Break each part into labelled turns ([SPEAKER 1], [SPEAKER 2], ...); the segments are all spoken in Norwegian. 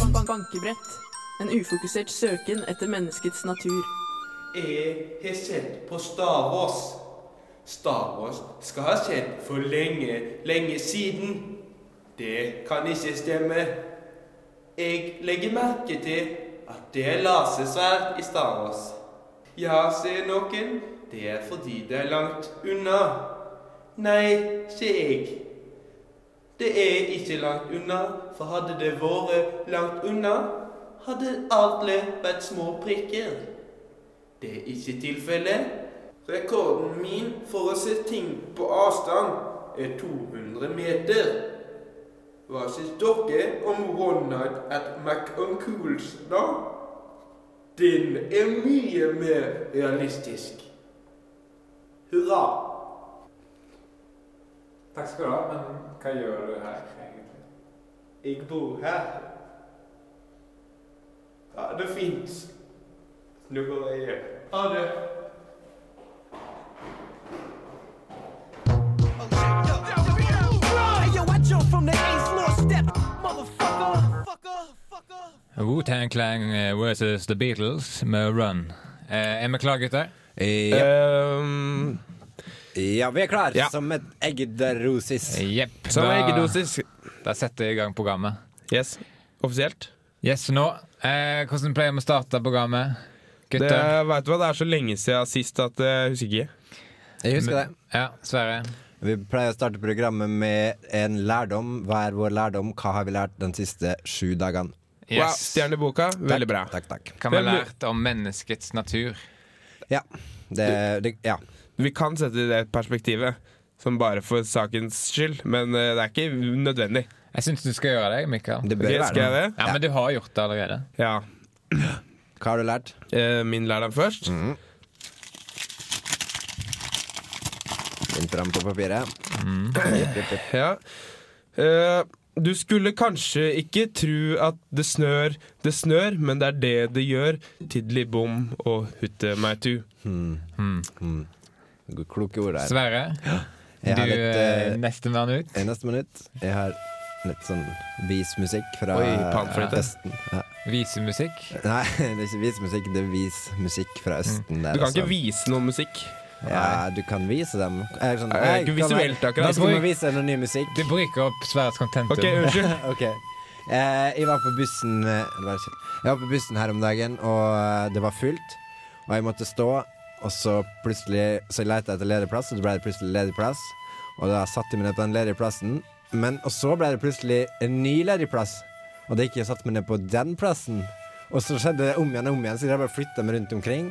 [SPEAKER 1] tankebrett. En ufokusert søken etter menneskets natur.
[SPEAKER 2] Jeg har sett på Star Wars. Star Wars skal ha skjedd for lenge, lenge siden. Det kan ikke stemme. Jeg legger merke til at det er lasersverd i Star Wars. Ja, sier noen, det er fordi det er langt unna. Nei, sier jeg. Det er ikke langt unna, for hadde det vært langt unna, hadde alle vært små prikker. Det er ikke tilfellet. Rekorden min for å se ting på avstand er 200 meter. Hva syns dere om Ronald at McUncles, da? Den er mye mer realistisk. Hurra.
[SPEAKER 3] Takk skal du ha, men hva gjør du her egentlig?
[SPEAKER 2] Jeg bor her. Ha det fint. Nå går jeg hjem. Ha det.
[SPEAKER 4] Wu-Tang Clan eh, versus The Beatles med Run. Eh, er vi klare, gutter?
[SPEAKER 5] Ja,
[SPEAKER 6] Ehm,
[SPEAKER 5] ja vi er klar
[SPEAKER 6] Ja.
[SPEAKER 5] som et eggerosis.
[SPEAKER 4] Jepp.
[SPEAKER 6] Som
[SPEAKER 4] da-
[SPEAKER 6] eggedosis.
[SPEAKER 4] Da setter jeg i gang programmet.
[SPEAKER 6] Yes. Offisielt.
[SPEAKER 4] Yes, nå. Eh, hvordan pleier vi å starte programmet?
[SPEAKER 6] Det,
[SPEAKER 4] Gutter?
[SPEAKER 6] vet du hva, det er så lenge siden sist at eh, jeg husker ikke.
[SPEAKER 5] Jeg husker det.
[SPEAKER 4] Ja, Sverre.
[SPEAKER 5] Vi pleier å starte programmet med en lærdom. Hva er vår lærdom? Hva har vi lært den siste sju dagene?
[SPEAKER 6] Wow, Stjerne i boka. Veldig bra.
[SPEAKER 5] Takk, takk.
[SPEAKER 4] Hva vi har
[SPEAKER 6] Hvem lu-
[SPEAKER 4] lært om menneskets natur.
[SPEAKER 5] Ja. Det, Eh, det, ja.
[SPEAKER 6] Vi kan sette det i det perspektivet, som bare for sakens skyld, men eh, det er ikke nødvendig.
[SPEAKER 4] Jeg syns du skal gjøre det, Mikael.
[SPEAKER 5] det bør
[SPEAKER 6] Ok, skal jeg
[SPEAKER 5] være det.
[SPEAKER 6] det?
[SPEAKER 4] Ja, Men du har gjort det allerede.
[SPEAKER 6] Ja.
[SPEAKER 5] Hva har du lært?
[SPEAKER 6] Eh, Min lærdom først.
[SPEAKER 5] Finn fram på papiret. Jepp, jepp, jepp.
[SPEAKER 6] Ja. Eh, du skulle kanskje ikke tru at det snør, det snør, men det er det det gjør. Tiddeli bom og hutte meg tu.
[SPEAKER 5] Gode- Kloke ord der.
[SPEAKER 4] Sverre, du
[SPEAKER 5] Jeg har litt, eh,
[SPEAKER 4] eh, nestemann ut.
[SPEAKER 5] I neste minutt Jeg har litt sånn vismusikk fra
[SPEAKER 6] Oi, panfløyte.
[SPEAKER 5] Østen. Ja.
[SPEAKER 4] Visemusikk.
[SPEAKER 5] Nei, det er ikke vismusikk, det er vismusikk fra Østen. Der,
[SPEAKER 6] Mm. Du kan ikke
[SPEAKER 5] altså.
[SPEAKER 6] vise noe musikk.
[SPEAKER 5] Ja, du kan vise dem. Jeg er sånn,
[SPEAKER 6] Jeg er ikke
[SPEAKER 5] kan
[SPEAKER 6] visuelt akkurat.
[SPEAKER 5] Da skal vi vise noe ny musikk.
[SPEAKER 4] Du bruker opp Sverres contentum.
[SPEAKER 6] OK, unnskyld.
[SPEAKER 5] Ok eh, Jeg var på bussen eh, vær så snill. Jeg var på bussen her om dagen Og eh, det var fullt Og jeg måtte stå Og så plutselig Så jeg lette etter ledig plass Og det ble det plutselig ledig plass Og da satt jeg meg ned på den ledige plassen Men og så ble det plutselig En ny ledig plass Og det gikk jeg og satt meg ned på den plassen Og så skjedde det om igjen og om igjen Så jeg bare flyttet meg rundt omkring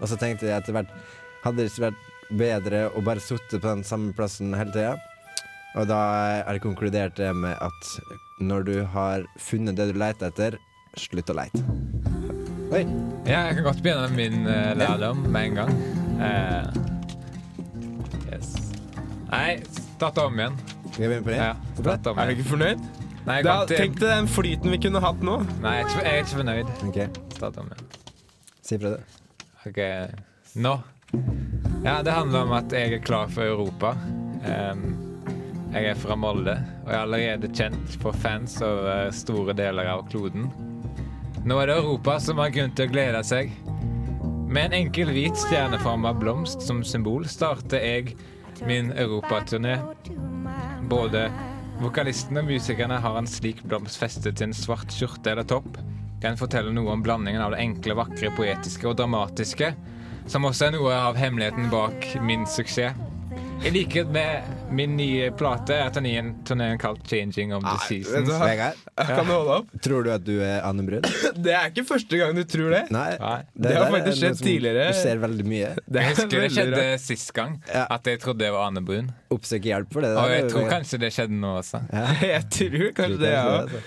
[SPEAKER 5] Og så tenkte jeg etter hvert Hadde det ikke vært bedre Å bare sitte på den samme plassen hele tiden og da er det konkludert det med at når du har funnet det du leter etter, slutt å leite. Oi.
[SPEAKER 4] Ja, jeg kan godt begynne med min eh, lærdom med en gang. Eh, yes. Nei, start om igjen.
[SPEAKER 5] Skal jeg begynne på
[SPEAKER 4] Ja,
[SPEAKER 5] nytt?
[SPEAKER 4] start om
[SPEAKER 6] Er du
[SPEAKER 4] igjen.
[SPEAKER 6] ikke fornøyd?
[SPEAKER 4] Nei, jeg
[SPEAKER 6] Da,
[SPEAKER 4] kom til,
[SPEAKER 6] tenk deg den flyten vi kunne hatt nå.
[SPEAKER 4] nei, jeg er ikke- jeg er ikke fornøyd.
[SPEAKER 5] Ok,
[SPEAKER 4] Start om igjen.
[SPEAKER 5] Si fra, du.
[SPEAKER 4] Ok, nå. Ja, det handler om at jeg er klar for Europa. Em, jeg er fra Molde, og jeg er allerede kjent for fans over store deler av kloden. Nå er det Europa som har grunn til å glede seg. Med en enkel hvit stjerneforma blomst som symbol starter jeg min europaturné. Både vokalisten og musikerne har en slik blomst festet til en svart skjorte eller topp. Den forteller noe om blandingen av det enkle, vakre, poetiske og dramatiske, som også er noe av hemmeligheten bak min suksess. I likhet med min nye plate er turneen turneen kalt 'Changing of the
[SPEAKER 6] vet du
[SPEAKER 4] Seasons'.
[SPEAKER 6] hva?
[SPEAKER 5] Vegard,
[SPEAKER 6] Kan du holde opp?
[SPEAKER 5] tror du at du er Anne Brun?
[SPEAKER 6] Det er ikke første gang du tror det.
[SPEAKER 5] Nei.
[SPEAKER 4] Nei.
[SPEAKER 6] Det har
[SPEAKER 5] der er
[SPEAKER 6] faktisk
[SPEAKER 5] noe
[SPEAKER 6] skjedd
[SPEAKER 5] som-
[SPEAKER 6] tidligere.
[SPEAKER 5] Du ser veldig mye.
[SPEAKER 6] Det
[SPEAKER 4] Jeg
[SPEAKER 6] er
[SPEAKER 4] husker det
[SPEAKER 6] veldig
[SPEAKER 4] skjedde
[SPEAKER 6] rart.
[SPEAKER 4] sist gang,
[SPEAKER 5] Ja.
[SPEAKER 4] at jeg trodde det var Anne Brun.
[SPEAKER 5] Oppsøk hjelp for det.
[SPEAKER 4] Og jeg
[SPEAKER 5] der,
[SPEAKER 4] tror
[SPEAKER 5] Vegard.
[SPEAKER 4] kanskje det skjedde nå også.
[SPEAKER 6] Jeg tror kanskje det, ja.
[SPEAKER 5] altså.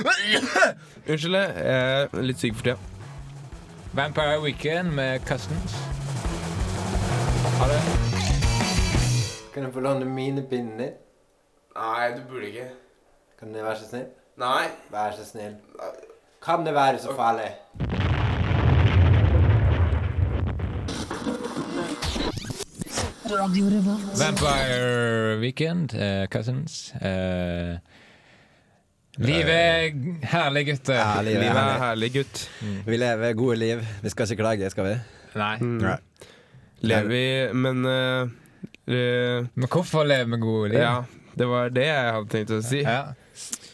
[SPEAKER 6] Unnskyld, jeg er litt syk for tida.
[SPEAKER 4] Vampire Weekend med Cousins. Ha det.
[SPEAKER 5] Kan jeg få låne mine pinner?
[SPEAKER 2] Nei, du burde ikke.
[SPEAKER 5] Kan du være så snill?
[SPEAKER 2] Nei.
[SPEAKER 5] Vær så snill. Kan det være så farlig?
[SPEAKER 4] Vampire Weekend, eh, Cousins. eh, Livet er herlig, gutter.
[SPEAKER 5] Ja, livet er
[SPEAKER 6] Livet er
[SPEAKER 5] herlig.
[SPEAKER 6] herlig, gutt.
[SPEAKER 5] Vi lever gode liv. Vi skal ikke klage, skal vi?
[SPEAKER 4] Nei.
[SPEAKER 6] Mm.
[SPEAKER 5] Nei.
[SPEAKER 6] Lever vi, men eh, eh,
[SPEAKER 4] Men hvorfor leve med gode liv?
[SPEAKER 6] Ja, det var det jeg hadde tenkt å si.
[SPEAKER 4] Ja.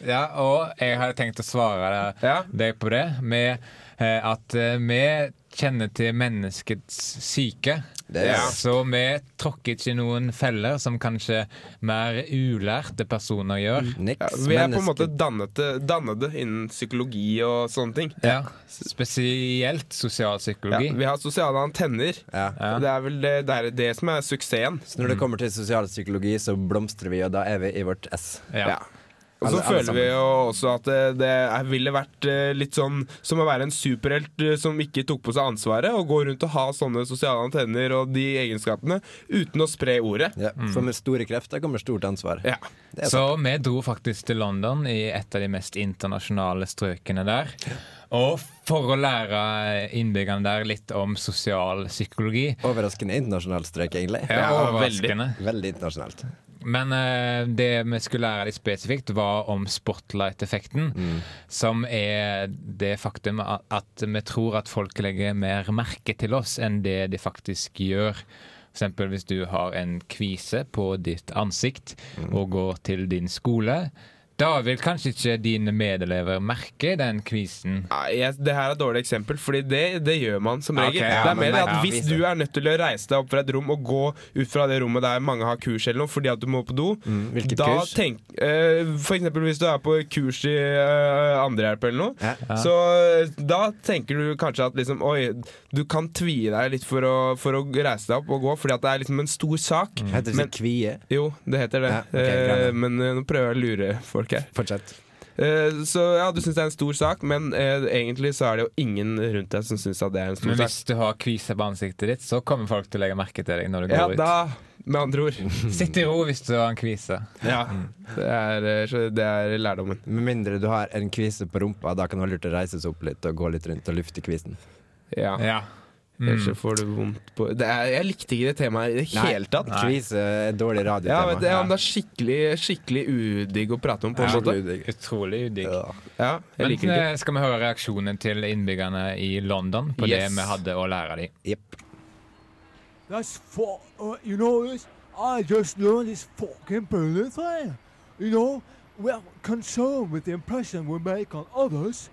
[SPEAKER 4] ja, og jeg hadde tenkt å svare deg-
[SPEAKER 6] Ja.
[SPEAKER 4] deg på det med eh, at eh, vi kjenner til menneskets syke.
[SPEAKER 5] Det gjør vi.
[SPEAKER 4] Så vi tråkker ikke i noen feller som kanskje mer ulærte personer gjør.
[SPEAKER 5] Niks.
[SPEAKER 6] Ja, vi er på en
[SPEAKER 5] Menneske-
[SPEAKER 6] måte dannede, dannede innen psykologi og sånne ting.
[SPEAKER 4] Ja, Spesielt
[SPEAKER 6] Ja,
[SPEAKER 4] sosialpsykologi.
[SPEAKER 6] vi har sosiale antenner.
[SPEAKER 5] Ja.
[SPEAKER 4] Ja.
[SPEAKER 6] Det er vel det, det, er det som er suksessen.
[SPEAKER 5] Så når det kommer til sosialpsykologi, så blomstrer vi, og da er vi i vårt ess.
[SPEAKER 4] Ja.
[SPEAKER 6] Ja. Og så
[SPEAKER 5] Alle- alle
[SPEAKER 6] føler vi
[SPEAKER 5] sammen.
[SPEAKER 6] jo også at det, det er, ville vært eh, litt sånn som å være en superhelt eh, som ikke tok på seg ansvaret, og gå rundt og ha sånne sosiale antenner og de egenskapene uten å spre ordet.
[SPEAKER 5] Ja. For med store krefter kommer stort ansvar.
[SPEAKER 6] Ja.
[SPEAKER 5] Det er
[SPEAKER 4] Så vi dro faktisk til London, i et av de mest internasjonale strøkene der. Og for å lære innbyggerne der litt om sosial psykologi.
[SPEAKER 5] Overraskende internasjonal strek, egentlig.
[SPEAKER 4] Ja,
[SPEAKER 6] Ja,
[SPEAKER 4] overraskende.
[SPEAKER 5] Veldig internasjonalt.
[SPEAKER 4] Men eh, det vi skulle lære litt spesifikt, var om spotlight-effekten. Som er det faktum at, at vi tror at folk legger mer merke til oss enn det de faktisk gjør. For eksempel hvis du har en kvise på ditt ansikt og går til din skole. Da vil kanskje ikke dine medelever merke den kvisen.
[SPEAKER 6] Nei, jeg, det her er et dårlig eksempel, Fordi det, det gjør man som
[SPEAKER 4] Ok,
[SPEAKER 6] regel.
[SPEAKER 4] ja,
[SPEAKER 6] det er
[SPEAKER 5] men
[SPEAKER 6] mer det
[SPEAKER 5] nei,
[SPEAKER 6] at
[SPEAKER 5] ja,
[SPEAKER 6] Hvis
[SPEAKER 5] vi-
[SPEAKER 6] du er nødt til å reise deg opp fra et rom og gå ut fra det rommet der mange har kurs eller noe fordi at du må på do
[SPEAKER 5] hvilket
[SPEAKER 6] da
[SPEAKER 5] kurs?
[SPEAKER 6] Tenk, eh, for eksempel hvis du er på kurs i eh, andrehjelp eller noe,
[SPEAKER 5] Ja.
[SPEAKER 6] så eh, da tenker du kanskje at liksom Oi, du kan tvie deg litt for å, for å reise deg opp og gå, fordi at det er liksom en stor sak.
[SPEAKER 5] Heter det
[SPEAKER 6] Men-
[SPEAKER 5] ikke kvie?
[SPEAKER 6] Jo, det heter det.
[SPEAKER 5] Mm. Ja, ok, greit.
[SPEAKER 6] Eh, men eh, nå prøver jeg å lure folk her.
[SPEAKER 5] Fortsett.
[SPEAKER 6] Eh, Så ja, du syns det er en stor sak, men eh, egentlig så er det jo ingen rundt deg som syns at det er en stor
[SPEAKER 4] Men
[SPEAKER 6] sak.
[SPEAKER 4] hvis du har kvise på ansiktet ditt, så kommer folk til å legge merke til deg når du går
[SPEAKER 6] Ja,
[SPEAKER 4] ut.
[SPEAKER 6] da, med andre ord.
[SPEAKER 4] Sitt i ro hvis du har en kvise.
[SPEAKER 6] Ja, det er, eh, så det er lærdommen.
[SPEAKER 5] Med mindre du har en kvise på rumpa, da kan det være lurt å reise seg opp litt og gå litt rundt og lufte kvisen.
[SPEAKER 6] Ja.
[SPEAKER 4] Ja. Mm.
[SPEAKER 6] Ellers så får du vondt på det er, Jeg likte ikke det temaet i det
[SPEAKER 5] Nei.
[SPEAKER 6] hele tatt.
[SPEAKER 5] Kvise er et dårlig
[SPEAKER 6] Ja, vet,
[SPEAKER 5] radiotema.
[SPEAKER 6] du, ja, men det er skikkelig, skikkelig udigg å prate om, på en
[SPEAKER 5] Ja.
[SPEAKER 6] måte.
[SPEAKER 5] Udigg.
[SPEAKER 4] Utrolig udigg.
[SPEAKER 5] Ja.
[SPEAKER 6] Ja, jeg
[SPEAKER 4] Men
[SPEAKER 6] liker det ikke.
[SPEAKER 4] eh, skal vi høre reaksjonen til innbyggerne i London på det
[SPEAKER 6] Yes.
[SPEAKER 4] vi hadde å lære dem?
[SPEAKER 5] Jepp.
[SPEAKER 7] That's for uh, you know this. I just learned this fucking brilliant thing. You know, we're concerned with the impression we make on others,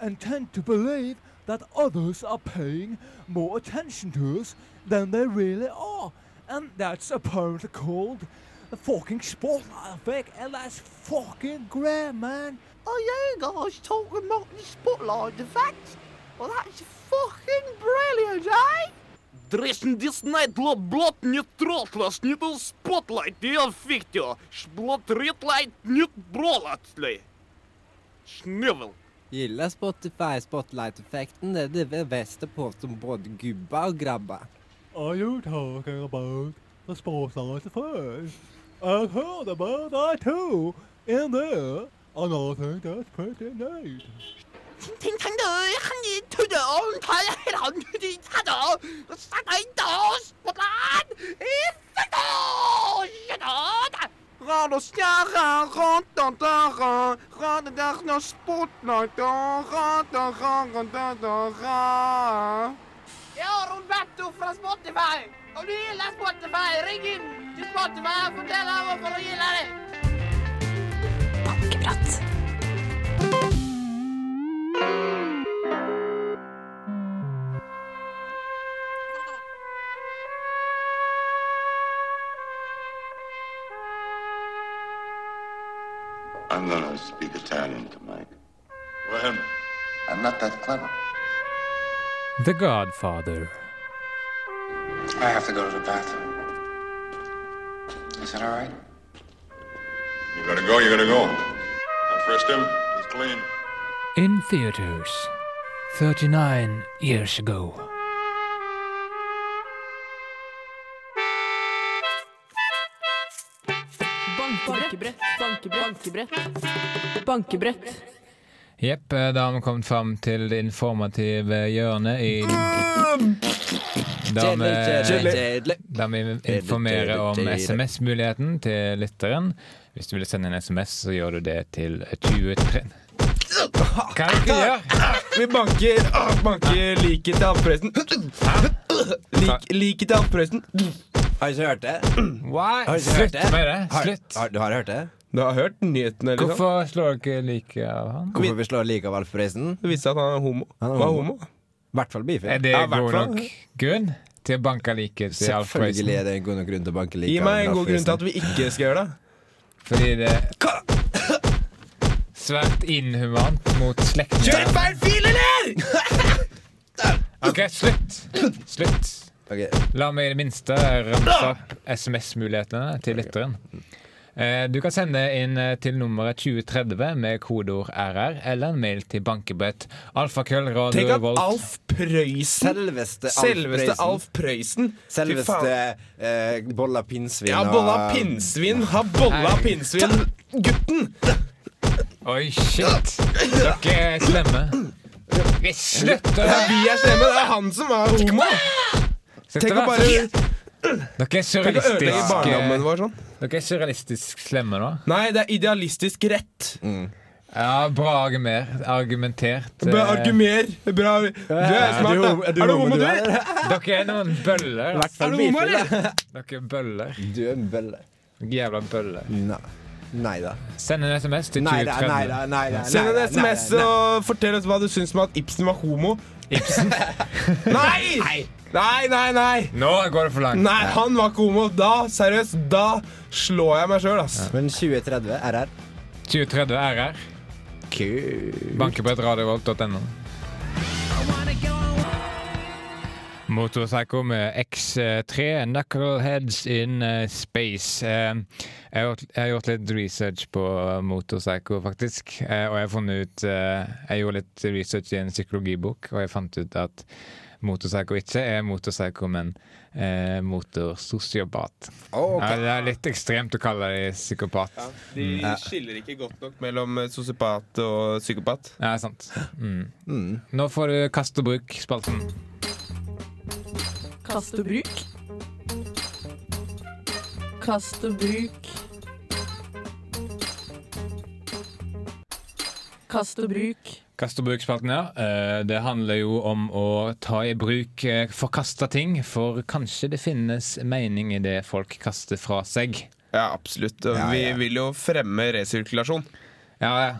[SPEAKER 7] and tend to believe that others are paying more attention to us than they really are, and that's apparently called the fucking spotlight effect, and that's fucking great, man.
[SPEAKER 8] Are Oh, you guys talking about the spotlight effect? Well, that's fucking brilliant, eh? Дресн диснайт блот нет тротлас, нет спотлайт, и фиктио. Шблот ретлайт нет бролатли. Шневел.
[SPEAKER 9] Gillar Spotify Spotlight-effekten. Det är det bästa på som både gubbar och grabbar.
[SPEAKER 7] Are you talking about the spotlight first? I heard about that too. In there, and I think that's pretty neat.
[SPEAKER 8] 팅팅팅들 한이 투정 다해란 투지 사정 사다인도 스포란 이스도 시도다 Rado stjärna, rada dörren, rada dörren och spotlighter, rada rören, döda rören. Jag har Roberto från Spotify! Om du gillar Spotify, ring in till Spotify och förtälla varför du gillar det!
[SPEAKER 10] Bakkeprat.
[SPEAKER 11] I'm gonna speak Italian to Mike. Well, I'm not that clever.
[SPEAKER 4] The Godfather.
[SPEAKER 11] I have to go to the bathroom. Is that all right? You're gonna go, you're gonna go. I frisked him, he's clean.
[SPEAKER 4] In theaters 39 years ago.
[SPEAKER 1] Bankebrett. Bankebrett. Bankebrett. Bankebrett.
[SPEAKER 4] Jepp, eh, da har vi kommet fram til det informative hjørnet i Da
[SPEAKER 5] Kjedelig, kjedelig,
[SPEAKER 4] vi,
[SPEAKER 5] kjedelig.
[SPEAKER 4] da vi informerer om SMS-muligheten til lytteren. Hvis du vil sende en SMS, så gjør du det til 2030. Hva er det du gjør?
[SPEAKER 6] Vi banker, ah, banker liket til halvpresten. Lik, liket til halvpresten.
[SPEAKER 5] Har du ikke hørt det?
[SPEAKER 4] Why?
[SPEAKER 5] Har du ikke hørt
[SPEAKER 4] Slutt
[SPEAKER 5] det?
[SPEAKER 4] med det.
[SPEAKER 5] Har,
[SPEAKER 4] Slutt.
[SPEAKER 5] har, du har hørt det?
[SPEAKER 6] Du har hørt nyhetene? liksom? eller noe?
[SPEAKER 4] Hvorfor slår dere like av han?
[SPEAKER 5] Hvorfor vi slår like av Alfreisen?
[SPEAKER 6] Det viste seg at han er homo.
[SPEAKER 5] Han er
[SPEAKER 6] Var
[SPEAKER 5] homo.
[SPEAKER 6] homo.
[SPEAKER 5] I hvert fall
[SPEAKER 4] Er
[SPEAKER 5] bifil.
[SPEAKER 4] det
[SPEAKER 6] Ja, i hvert
[SPEAKER 4] god
[SPEAKER 6] fall.
[SPEAKER 4] nok grunn til å banke like til Alf
[SPEAKER 5] Selvfølgelig
[SPEAKER 4] Prøysen?
[SPEAKER 5] er det en god nok grunn til å banke like
[SPEAKER 6] Gi
[SPEAKER 5] av
[SPEAKER 6] meg en god
[SPEAKER 5] Alfreisen.
[SPEAKER 6] grunn til at vi ikke skal gjøre det.
[SPEAKER 4] Fordi det er svært inhumant mot slektninger.
[SPEAKER 6] feil fil, eller?!
[SPEAKER 4] OK, slutt. Slutt.
[SPEAKER 5] Ok,
[SPEAKER 4] La meg i det minste ramse opp SMS-mulighetene til lytteren. Eh, Du kan sende inn eh, til nummeret 2030 med kodeord RR eller en mail til bankebrett alfakrøll
[SPEAKER 6] Tenk
[SPEAKER 4] radio
[SPEAKER 6] at
[SPEAKER 4] volt.
[SPEAKER 6] Alf Prøysen
[SPEAKER 5] Hm? Selveste Alf
[SPEAKER 6] Selveste
[SPEAKER 5] Prøysen.
[SPEAKER 6] Alf Prøysen. Fy
[SPEAKER 5] Selveste
[SPEAKER 6] faen.
[SPEAKER 5] eh, Bolla Pinnsvin
[SPEAKER 6] Ja,
[SPEAKER 5] og-
[SPEAKER 6] bolla pinnsvin. Ha bolla
[SPEAKER 4] Nei.
[SPEAKER 6] pinnsvin. Gutten!
[SPEAKER 4] Oi, shit! Dere er slemme. Vi
[SPEAKER 6] Det
[SPEAKER 4] slutter!
[SPEAKER 6] er vi er slemme. Det er han som er homo.
[SPEAKER 4] Slutt å
[SPEAKER 6] Tenk
[SPEAKER 4] være
[SPEAKER 6] å bare
[SPEAKER 4] så- Dere er
[SPEAKER 6] Tenk å ødelegge barndommen
[SPEAKER 4] surrealistiske
[SPEAKER 6] vår sånn.
[SPEAKER 4] Dere er surrealistisk slemme nå.
[SPEAKER 6] Nei, det er idealistisk rett.
[SPEAKER 4] Ja, bra argument. argumentert. eh,
[SPEAKER 6] Bra argumer. Bra. Du er smart, da.
[SPEAKER 5] homo-
[SPEAKER 6] Er du homo, du?
[SPEAKER 5] er?
[SPEAKER 4] Dere er noen bøller.
[SPEAKER 5] I hvert fall
[SPEAKER 6] Er du homo,
[SPEAKER 5] bifil, da.
[SPEAKER 6] eller?
[SPEAKER 4] Dere er bøller.
[SPEAKER 5] Du er en bølle.
[SPEAKER 4] Jævla bøller.
[SPEAKER 5] Nei. Nei da.
[SPEAKER 4] Send en SMS til
[SPEAKER 5] Nei da,
[SPEAKER 4] 2030.
[SPEAKER 5] nei da, nei da.
[SPEAKER 6] Send en
[SPEAKER 5] nei da,
[SPEAKER 6] SMS
[SPEAKER 5] nei da,
[SPEAKER 6] og fortell oss hva du syns om at Ibsen var homo.
[SPEAKER 4] Ibsen.
[SPEAKER 6] Nei! Nei, nei, nei!
[SPEAKER 4] Nå går det for langt.
[SPEAKER 6] Nei, han var ikke homo. Da, seriøst, da slår jeg meg sjøl, ass.
[SPEAKER 5] nei. Men 2030 RR.
[SPEAKER 4] 2030 RR. Bankebettradiovolt.no. Motorpsycho med X3 Knuckleheads in eh, Space. Eh, Jeg har gjort- jeg har gjort litt research på Motorpsycho, faktisk. Eh, Og jeg har funnet ut eh, Jeg gjorde litt research i en psykologibok, og jeg fant ut at Motorpsycho ikke er motorpsycho, men eh, motorsosiopat. Ja, det er litt ekstremt å kalle dem psykopat.
[SPEAKER 6] De skiller ikke godt nok mellom eh, sosiopat og psykopat.
[SPEAKER 4] Ja, sant. Mm. Nå får du kast og bruk-spalten.
[SPEAKER 1] Kast og bruk. Kast og bruk. Kast og bruk.
[SPEAKER 4] Kast og bruk-spalten, ja. Eh, Det handler jo om å ta i bruk eh, forkasta ting, for kanskje det finnes mening i det folk kaster fra seg.
[SPEAKER 6] Ja, absolutt. Og vi vil jo fremme resirkulasjon.
[SPEAKER 4] Ja, ja.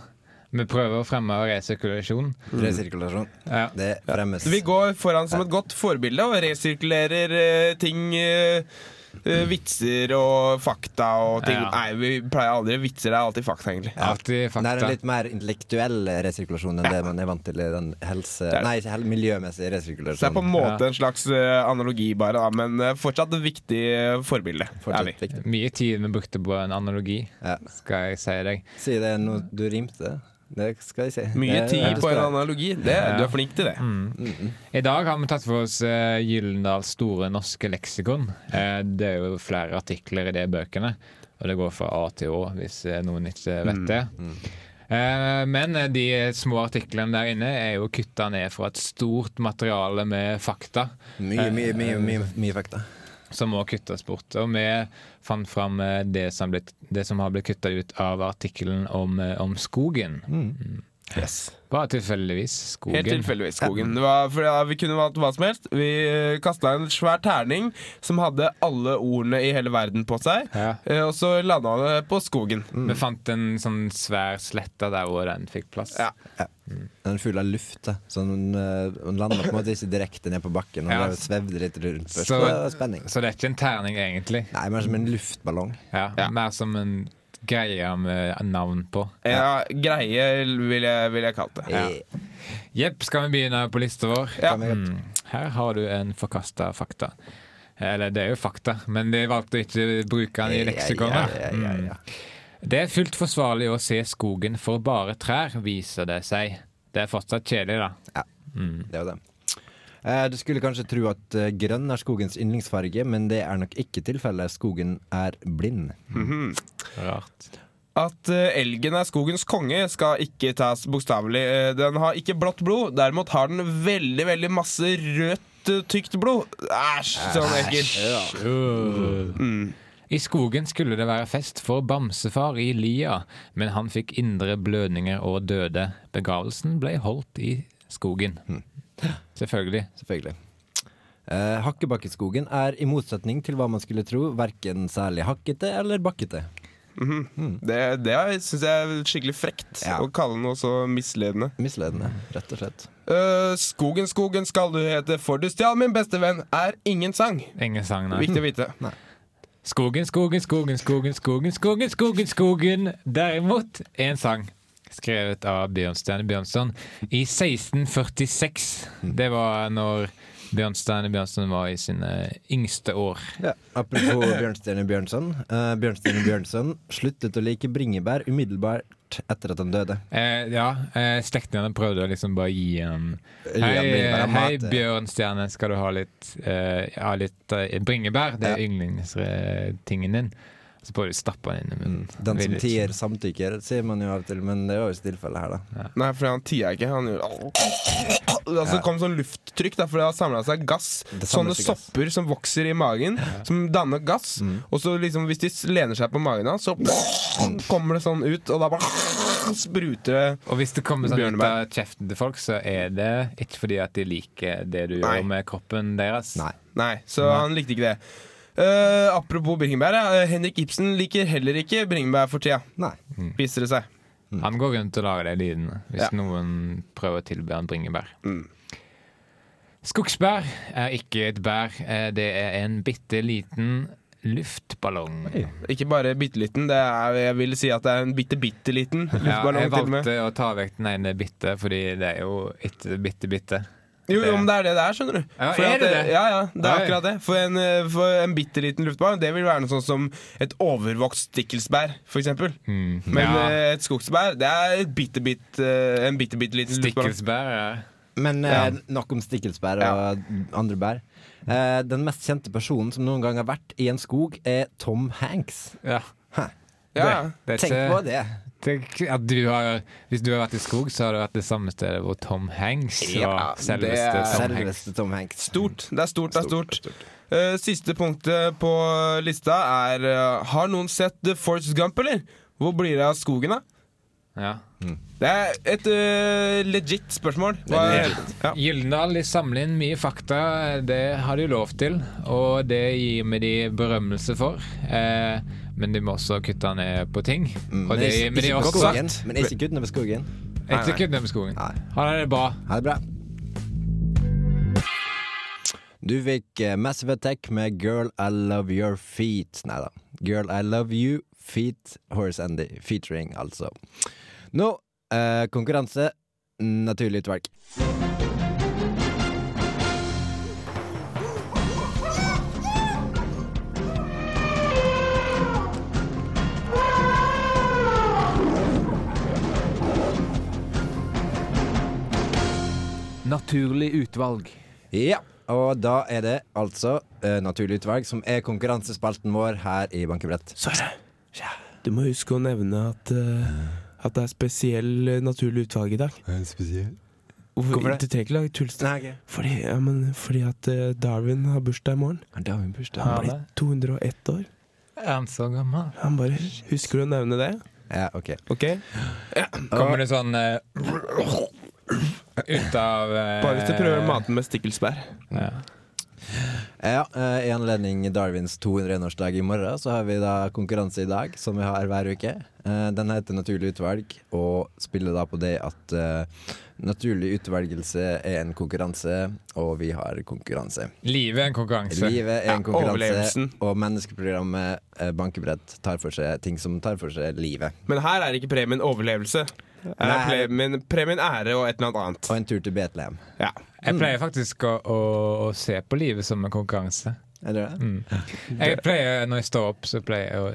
[SPEAKER 4] Vi prøver å fremme resirkulasjon.
[SPEAKER 5] Resirkulasjon.
[SPEAKER 4] Ja.
[SPEAKER 5] Det fremmes.
[SPEAKER 6] Så vi går foran som et godt forbilde og resirkulerer eh, ting eh, eh, Vitser og fakta og ting.
[SPEAKER 4] Ja.
[SPEAKER 6] Nei, vi pleier aldri vitser. Det er alltid fakta, egentlig.
[SPEAKER 4] Alltid
[SPEAKER 5] Det er
[SPEAKER 4] fakta.
[SPEAKER 5] en litt mer intellektuell resirkulasjon enn det man er vant til i den helse...
[SPEAKER 6] er-
[SPEAKER 5] Nei, ikke hel
[SPEAKER 6] Så det er på
[SPEAKER 5] miljømessig
[SPEAKER 6] en
[SPEAKER 5] resirkulasjonen.
[SPEAKER 6] måte en slags eh, analogi, bare, da, men eh, fortsatt et viktig eh, forbilde. er vi.
[SPEAKER 5] Fortsatt viktig.
[SPEAKER 4] Mye tid vi brukte på en analogi,
[SPEAKER 5] Ja.
[SPEAKER 4] skal jeg si deg.
[SPEAKER 5] Si det nå du rimte. Det skal jeg si.
[SPEAKER 6] Mye
[SPEAKER 5] Det-
[SPEAKER 6] tid
[SPEAKER 5] det
[SPEAKER 6] på
[SPEAKER 5] står
[SPEAKER 6] en
[SPEAKER 5] jeg.
[SPEAKER 6] analogi. Det, du er flink til det.
[SPEAKER 4] Mm. I dag har vi tatt for oss uh, Gyllendals store norske leksikon. Eh, det er jo flere artikler i de bøkene, og det går fra A til Å, hvis eh, noen ikke vet det. Eh, men eh, de små artiklene der inne er jo kutta ned fra et stort materiale med fakta,
[SPEAKER 5] Mye, mye, mye, mye, mye fakta.
[SPEAKER 4] som må kuttes bort. Og vi fant fram eh, det som, ble, det som har blitt kutta ut av artikkelen om, eh, om skogen. Mm. Bare tilfeldigvis skogen.
[SPEAKER 6] Helt tilfeldigvis skogen. Det var, for ja, vi kunne valgt hva som helst. Vi kasta en svær terning som hadde alle ordene i hele verden på seg,
[SPEAKER 4] Ja.
[SPEAKER 6] eh, og så landa det på skogen.
[SPEAKER 5] Mm.
[SPEAKER 4] Vi fant en sånn svær slette der hvor den fikk plass.
[SPEAKER 6] Ja.
[SPEAKER 5] Den er full av luft, da. så den, eh, den lander på en måte ikke direkte ned på bakken. Den
[SPEAKER 4] Ja.
[SPEAKER 5] bare svevde litt rundt først.
[SPEAKER 4] Så-
[SPEAKER 5] Så, det var spenning.
[SPEAKER 4] Så det er ikke en terning, egentlig.
[SPEAKER 5] Nei, mer som en luftballong.
[SPEAKER 4] Ja,
[SPEAKER 6] Ja.
[SPEAKER 4] Mer som en greie med navn på.
[SPEAKER 6] Ja, greie vil jeg, vil jeg kalle det.
[SPEAKER 5] Ja.
[SPEAKER 4] Jepp, skal vi begynne på lista vår?
[SPEAKER 6] Ja.
[SPEAKER 4] Mm. Her har du en forkasta fakta. Eller det er jo fakta, men de valgte å ikke bruke den i leksikonet. Mm.
[SPEAKER 5] Ja, ja, ja, ja.
[SPEAKER 4] Det er fullt forsvarlig å se skogen for bare trær, viser det seg. Det er fortsatt kjedelig, da.
[SPEAKER 5] Det er jo det. Eh, Du skulle kanskje tro at eh, grønn er skogens yndlingsfarge, men det er nok ikke tilfellet. Skogen er blind.
[SPEAKER 4] Rart.
[SPEAKER 6] At eh, elgen er skogens konge skal ikke tas bokstavelig. Eh, Den har ikke blått blod, derimot har den veldig, veldig masse rødt eh, tykt blod. Æsj, sånn ekkelt.
[SPEAKER 4] Uh. I skogen skulle det være fest for bamsefar i lia, men han fikk indre blødninger og døde. Begravelsen ble holdt i skogen. Selvfølgelig.
[SPEAKER 5] Selvfølgelig. Eh, Hakkebakkeskogen er i motsetning til hva man skulle tro, verken særlig hakkete eller bakkete.
[SPEAKER 6] Det, det syns jeg er skikkelig frekt
[SPEAKER 5] Ja.
[SPEAKER 6] å kalle noe så misledende.
[SPEAKER 5] Misledende, rett og slett.
[SPEAKER 6] Øh, skogen, skogen skal du hete, for du stjal min beste venn, er ingen sang.
[SPEAKER 4] Ingen sang, nei.
[SPEAKER 6] Viktig å vite.
[SPEAKER 4] Skogen, skogen, skogen, skogen, skogen, skogen, skogen, skogen. Derimot en sang skrevet av Bjørnstjerne Bjørnson i 1646. Det var når Bjørnstjerne Bjørnson var i sine yngste år.
[SPEAKER 5] Ja. Apropos Bjørnstjerne Bjørnson. Eh, Bjørnstjerne Bjørnson sluttet å like bringebær umiddelbart etter at han døde.
[SPEAKER 4] Eh, ja, eh, slektningene prøvde å liksom bare gi ham Hei,
[SPEAKER 5] Ja, bringebær er
[SPEAKER 4] eh, hei
[SPEAKER 5] mat, eh.
[SPEAKER 4] Bjørnstjerne, skal du ha litt, eh, ja, litt eh, bringebær? Det er yndlingstingen din. Så prøvde de å stappe den inn i munnen.
[SPEAKER 5] Mm. Den som
[SPEAKER 4] Ville ikke.
[SPEAKER 5] tier, samtykker, sier man jo av og til, men det var jo tilfellet her, da.
[SPEAKER 6] Nei, for han tier ikke. Han gjør Altså, Det kom sånn lufttrykk, da, for det har samla seg gass.
[SPEAKER 5] Det
[SPEAKER 6] Sånne
[SPEAKER 5] samler seg gass.
[SPEAKER 6] sopper som vokser i magen, som danner gass. Og så liksom, hvis de s- lener seg på magen hans, så kommer det sånn ut, og da bare spruter det
[SPEAKER 4] Og hvis det kommer sånn ut
[SPEAKER 6] Bjørnebær.
[SPEAKER 4] av kjeften til folk, så er det ikke fordi at de liker det du
[SPEAKER 6] Nei.
[SPEAKER 4] gjør med kroppen deres.
[SPEAKER 5] Nei.
[SPEAKER 6] Nei, så han likte ikke det. Eh, apropos bringebær. ja, eh, Henrik Ibsen liker heller ikke bringebær for tida,
[SPEAKER 5] Nei.
[SPEAKER 6] viser det seg.
[SPEAKER 5] Mm.
[SPEAKER 4] Han går rundt og lager de lydene hvis
[SPEAKER 6] Ja.
[SPEAKER 4] noen prøver å tilby han bringebær.
[SPEAKER 5] Mm.
[SPEAKER 4] Skogsbær er ikke et bær, eh, det er en bitte liten luftballong.
[SPEAKER 6] Ikke bare bitte liten, det er, jeg vil si at det er en bitte, bitte liten
[SPEAKER 4] Ja,
[SPEAKER 6] luftballong.
[SPEAKER 4] jeg
[SPEAKER 6] til og med
[SPEAKER 4] valgte å ta vekk den ene bitte, fordi det er jo ikke bitte, bitte.
[SPEAKER 6] Jo,
[SPEAKER 4] det-
[SPEAKER 6] jo, men det er det det er, skjønner du.
[SPEAKER 4] Ja,
[SPEAKER 6] For
[SPEAKER 4] er
[SPEAKER 6] at
[SPEAKER 4] det det?
[SPEAKER 6] Ja, ja, det er
[SPEAKER 4] Oi.
[SPEAKER 6] akkurat det. For en, eh, for en bitte liten luftballong, det vil være noe sånn som et overvokst stikkelsbær, for eksempel.
[SPEAKER 4] Mm.
[SPEAKER 6] Men
[SPEAKER 4] ja,
[SPEAKER 6] eh, et skogsbær, det er et bitte, bitte, eh, en bitte, bitte liten luftballong.
[SPEAKER 4] stikkelsbær er
[SPEAKER 5] Men eh, nok om stikkelsbær og andre bær. Eh, den mest kjente personen som noen gang har vært i en skog, er Tom Hanks.
[SPEAKER 4] ja.
[SPEAKER 6] Ja, ja.
[SPEAKER 4] Det er
[SPEAKER 5] Tenk
[SPEAKER 4] ikke-
[SPEAKER 5] på det.
[SPEAKER 4] Tenk at du har, hvis du har vært i skog, så har du vært det samme stedet hvor Tom Hanks var. Selveste
[SPEAKER 6] det er-
[SPEAKER 4] Tom Hanks.
[SPEAKER 5] Selveste Tom Hanks.
[SPEAKER 6] Stort. Det er stort, det er stort. Eh, siste punktet på lista er eh, Har noen sett The Force Gump, eller? Hvor blir det av skogen, da?
[SPEAKER 4] Ja.
[SPEAKER 6] Det er et eh, legit spørsmål. Hva er- Ja.
[SPEAKER 4] Gyldendal de samler inn mye fakta, det har de lov til. Og det gir vi de berømmelse for. Eh, men de må også kutte ned på ting. Og det gir vi de
[SPEAKER 5] Mm. på
[SPEAKER 4] også
[SPEAKER 5] skogen,
[SPEAKER 4] sagt.
[SPEAKER 5] men ikke kutt ned ved skogen.
[SPEAKER 4] Ikke kutt ned på skogen.
[SPEAKER 5] Nei.
[SPEAKER 4] Ha det bra.
[SPEAKER 5] Ha det bra. Du fikk eh, Massive Attack med Girl I Love Your Feet. Nei da. Girl I Love You, Feet, Horse Andy. Featuring, altså. Nå eh, konkurranse. Naturlig utvalg.
[SPEAKER 10] Naturlig utvalg.
[SPEAKER 5] Ja, og da er det altså eh, Naturlig utvalg som er konkurransespalten vår her i Bankebrett.
[SPEAKER 6] Sverre, du må huske å nevne at, eh, at det er spesiell eh, naturlig utvalg i dag. Hvorfor,
[SPEAKER 5] Hvorfor det?
[SPEAKER 6] Du trenger ikke lage tullest.
[SPEAKER 5] Nei, okay.
[SPEAKER 6] Fordi, ja, men, fordi at eh, Darwin har bursdag i morgen.
[SPEAKER 5] Da har vi bursdag.
[SPEAKER 6] Han blir 201 år.
[SPEAKER 4] Er han så gammel?
[SPEAKER 6] Han bare Husker du å nevne det?
[SPEAKER 5] Ja, ok.
[SPEAKER 6] Ok?
[SPEAKER 4] Kommer det sånn eh, ut av eh,
[SPEAKER 6] Bare hvis du prøver å mate den med stikkelsbær.
[SPEAKER 4] Ja.
[SPEAKER 5] Ja, eh, I anledning Darwins 201-årsdag i morgen, så har vi da konkurranse i dag, som vi har hver uke. Eh, Den heter Naturlig utvalg, og spiller da på det at eh, naturlig utvelgelse er en konkurranse, og vi har konkurranse.
[SPEAKER 4] Livet er en konkurranse.
[SPEAKER 5] Livet er
[SPEAKER 6] Ja,
[SPEAKER 5] en konkurranse,
[SPEAKER 6] overlevelsen.
[SPEAKER 5] og menneskeprogrammet eh, Bankebrett tar for seg ting som tar for seg livet.
[SPEAKER 6] Men her er ikke premien overlevelse. Her er
[SPEAKER 5] Nei.
[SPEAKER 6] premien, premien ære og et eller annet
[SPEAKER 5] Og en tur til Betlehem.
[SPEAKER 6] annet. Ja.
[SPEAKER 4] Jeg pleier faktisk å, å, å se på livet som en konkurranse.
[SPEAKER 5] Er det
[SPEAKER 6] Mm.
[SPEAKER 5] det?
[SPEAKER 4] Jeg pleier, når jeg står opp, så pleier jeg å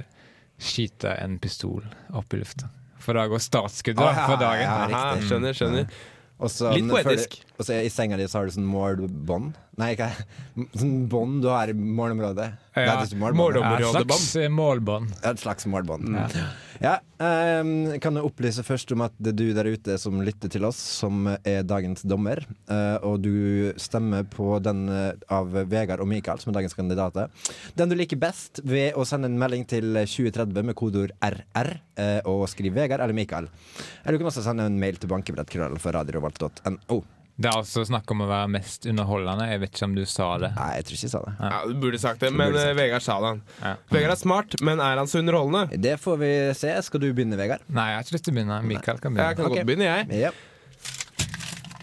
[SPEAKER 4] skyte en pistol opp i lufta. For da går startskuddet da, for dagen.
[SPEAKER 5] Ja,
[SPEAKER 6] Aha,
[SPEAKER 5] riktig.
[SPEAKER 6] skjønner, skjønner.
[SPEAKER 5] Og så-
[SPEAKER 6] Litt
[SPEAKER 5] men før du-
[SPEAKER 6] poetisk.
[SPEAKER 5] Og så i senga di så har du sånn målbånd. Nei, ikke Sånn bånd du har i målområdet. Det
[SPEAKER 4] Ja,
[SPEAKER 5] heter ikke målbånd.
[SPEAKER 4] Ja,
[SPEAKER 5] det
[SPEAKER 4] et
[SPEAKER 5] er
[SPEAKER 4] slags eh, målbånd.
[SPEAKER 5] Et et slags målbånd. Ja, ehm, kan jeg opplyse først om at det er du der ute som lytter til oss, som er dagens dommer. eh, og du stemmer på den eh, av Vegard og Mikael, som er dagens kandidater. Den du liker best, ved å sende en melding til 2030 med kodeord RR eh, og skriv Vegard eller Mikael. Eller du kan også sende en mail til bankebrett.krøllen for radiorevolt.no.
[SPEAKER 4] Det er altså snakk om å være mest underholdende. Jeg vet ikke om du sa det.
[SPEAKER 5] Nei, jeg tror ikke jeg sa det.
[SPEAKER 2] Ja, Du burde sagt det,
[SPEAKER 5] Du
[SPEAKER 2] men
[SPEAKER 5] burde sagt
[SPEAKER 2] eh, Vegard sa det. han.
[SPEAKER 4] Ja.
[SPEAKER 2] Vegard er smart, men er han så underholdende?
[SPEAKER 5] Det får vi se. Skal du begynne, Vegard?
[SPEAKER 4] Nei, jeg har ikke lyst til å begynne. Mikael kan
[SPEAKER 2] Jeg
[SPEAKER 4] begynne.
[SPEAKER 2] kan
[SPEAKER 5] Ok.
[SPEAKER 2] godt begynne, jeg.
[SPEAKER 5] Ja.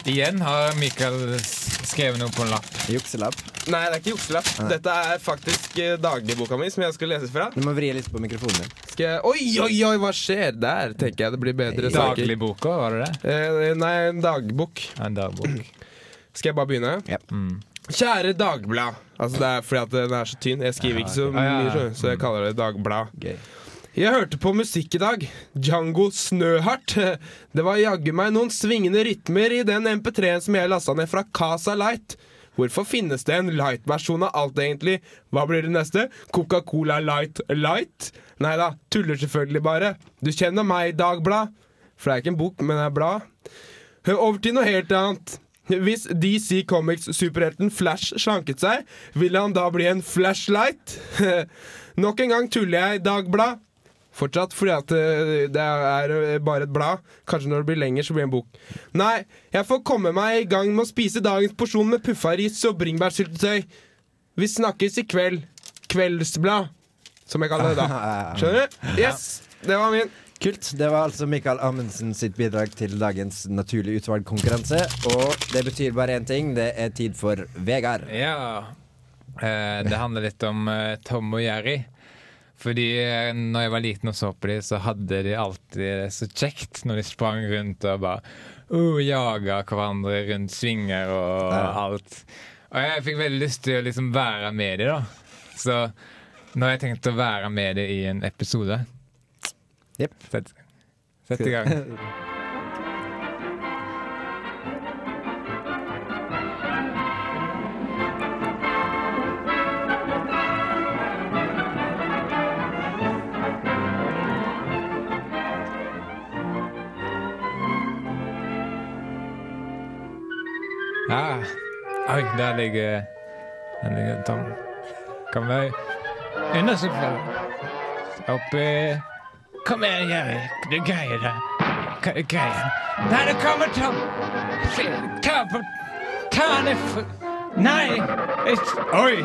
[SPEAKER 4] Igjen har Mikael s- skrevet noe på en lapp.
[SPEAKER 5] Jukselapp.
[SPEAKER 2] Nei, det er ikke jukselapp. Dette er faktisk eh, dagligboka mi, som jeg skal lese fra.
[SPEAKER 5] Du må vri litt på mikrofonen din.
[SPEAKER 2] Skal jeg... Oi, oi, oi, hva skjer der? Tenker jeg det blir bedre saker.
[SPEAKER 4] Dagligboka, var det det?
[SPEAKER 2] Eh, nei, en dagbok.
[SPEAKER 4] Ja, En dagbok.
[SPEAKER 2] Skal jeg bare begynne?
[SPEAKER 5] Ja.
[SPEAKER 4] Mm.
[SPEAKER 2] Kjære Dagblad. Altså, det er fordi at den er så tynn. Jeg skriver ikke så
[SPEAKER 4] ok. Ah, ja, ja.
[SPEAKER 2] mye, så- så jeg kaller det Dagblad.
[SPEAKER 5] Gøy.
[SPEAKER 2] Jeg hørte på musikk i dag. Django Snøhardt. Det var jaggu meg noen svingende rytmer i den MP3-en som jeg lasta ned fra Casa Light. Hvorfor finnes det en light-versjon av alt, egentlig? Hva blir det neste? Coca-Cola Light Light? Nei da, tuller selvfølgelig bare. Du kjenner meg, Dagblad. For det er ikke en bok, men det er blad. Over til noe helt annet. Hvis DC Comics-superhelten Flash slanket seg, ville han da bli en flashlight? Nok en gang tuller jeg, Dagblad. Fortsatt, fordi at eh, det er eh, bare et blad. Kanskje når det blir lenger, så blir det en bok. Nei, jeg får komme meg i gang med å spise dagens porsjon med puffaris og bringebærsyltetøy. Vi snakkes i kveld. Kveldsblad, som jeg kaller det da. Skjønner du? Yes! Det var min.
[SPEAKER 5] Kult. Det var altså Mikael Amundsen sitt bidrag til dagens naturlig utvalgkonkurranse. Og det betyr bare én ting. Det er tid for Vegard.
[SPEAKER 4] Ja. Eh, det handler litt om eh, Tom og Jerry. Fordi eh, når jeg var liten og så på dem, så hadde de alltid det så kjekt når de sprang rundt og bare uh, jaga hverandre rundt svinger og
[SPEAKER 5] Ja.
[SPEAKER 4] alt. Og jeg fikk veldig lyst til å liksom være med dem, da. Så nå har jeg tenkt å være med dem i en episode.
[SPEAKER 5] Jepp.
[SPEAKER 4] Sett, sett i gang. Ja. Oi, der ligger Der ligger Tom. Kom deg unna sofaen. Oppi eh, Kom igjen, Jerry. Du greier det. K- Du greier det. Nei, det kommer Tom. Se, Ta på Ta han i f... Nei! Et- Oi!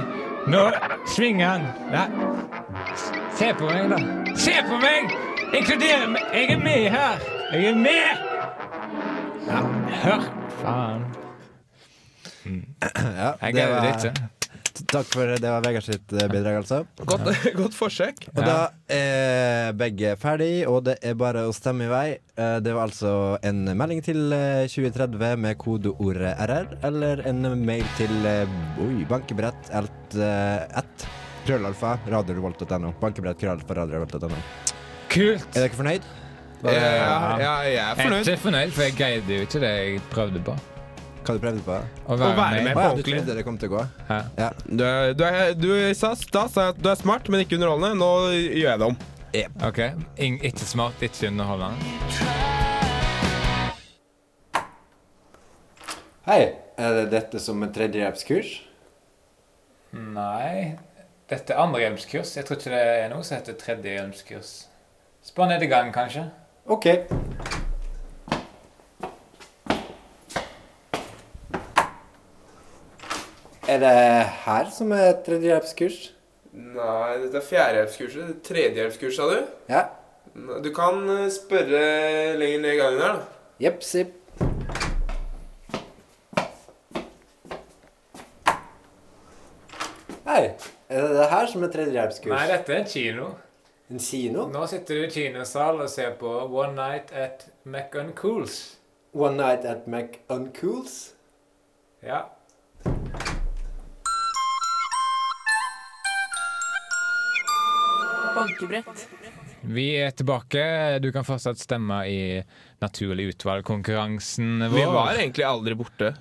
[SPEAKER 4] nou, Nå svinger han. Nei. Se på meg, da. Se på meg! Inkluder meg. Jeg er med her. Jeg er med! Ja, hør. Faen.
[SPEAKER 5] Ja,
[SPEAKER 4] Jeg
[SPEAKER 5] det
[SPEAKER 4] greide det
[SPEAKER 5] var-
[SPEAKER 4] ikke.
[SPEAKER 5] t- Takk for det var Vegard sitt eh, bidrag, altså.
[SPEAKER 2] Godt, godt forsøk.
[SPEAKER 5] Og da er begge ferdig, og det er bare å stemme i vei. Eh, Det var altså en melding til eh, 2030 med kodeordet RR, eller en mail til eh, oi, bankebrett alt, eh, at krøllalfa radiorevolt.no. Bankebrett krøllalfa radiorevolt.no.
[SPEAKER 4] Kult!
[SPEAKER 5] Er dere fornøyd?
[SPEAKER 2] Ja, ja, ja, jeg er
[SPEAKER 4] Jeg er
[SPEAKER 2] fornøyd.
[SPEAKER 4] ikke fornøyd, for jeg greide jo ikke det jeg prøvde på.
[SPEAKER 5] Hva du prøvde på?
[SPEAKER 4] Å være,
[SPEAKER 2] være
[SPEAKER 4] med.
[SPEAKER 2] med.
[SPEAKER 5] Å ja, du
[SPEAKER 2] ordentlig.
[SPEAKER 5] trodde det kom til å gå?
[SPEAKER 4] Ja.
[SPEAKER 5] Ja.
[SPEAKER 2] Du, er, du, er, du sa da sa jeg at du er smart, men ikke underholdende. Nå gjør jeg det om.
[SPEAKER 4] Ok. Ing- ikke smart, ikke underholdende.
[SPEAKER 5] Hei, er det dette som er tredjehjelpskurs?
[SPEAKER 4] Nei. Dette er andrehjelpskurs. Jeg tror ikke det er noe som heter tredjehjelpskurs. Spør ned i gang, kanskje.
[SPEAKER 5] OK. Er det her som er tredjehjelpskurs?
[SPEAKER 2] Nei, dette er fjerdehjelpskurset. Tredjehjelpskurs, sa du?
[SPEAKER 5] Ja.
[SPEAKER 2] Du kan eh, spørre lenger ned i gangen her, da.
[SPEAKER 5] Jepp, sipp. Hei, er det det her som er tredjehjelpskurs?
[SPEAKER 4] Nei, dette er en kino.
[SPEAKER 5] En kino?
[SPEAKER 4] Nå sitter du i kinosal og ser på One Night at McUncools.
[SPEAKER 5] One night at McUncools?
[SPEAKER 4] Ja.
[SPEAKER 1] Bankebrett.
[SPEAKER 4] Vi er tilbake. Du kan fortsatt stemme i Naturlig utvalg-konkurransen vår.
[SPEAKER 2] Vi var egentlig aldri borte.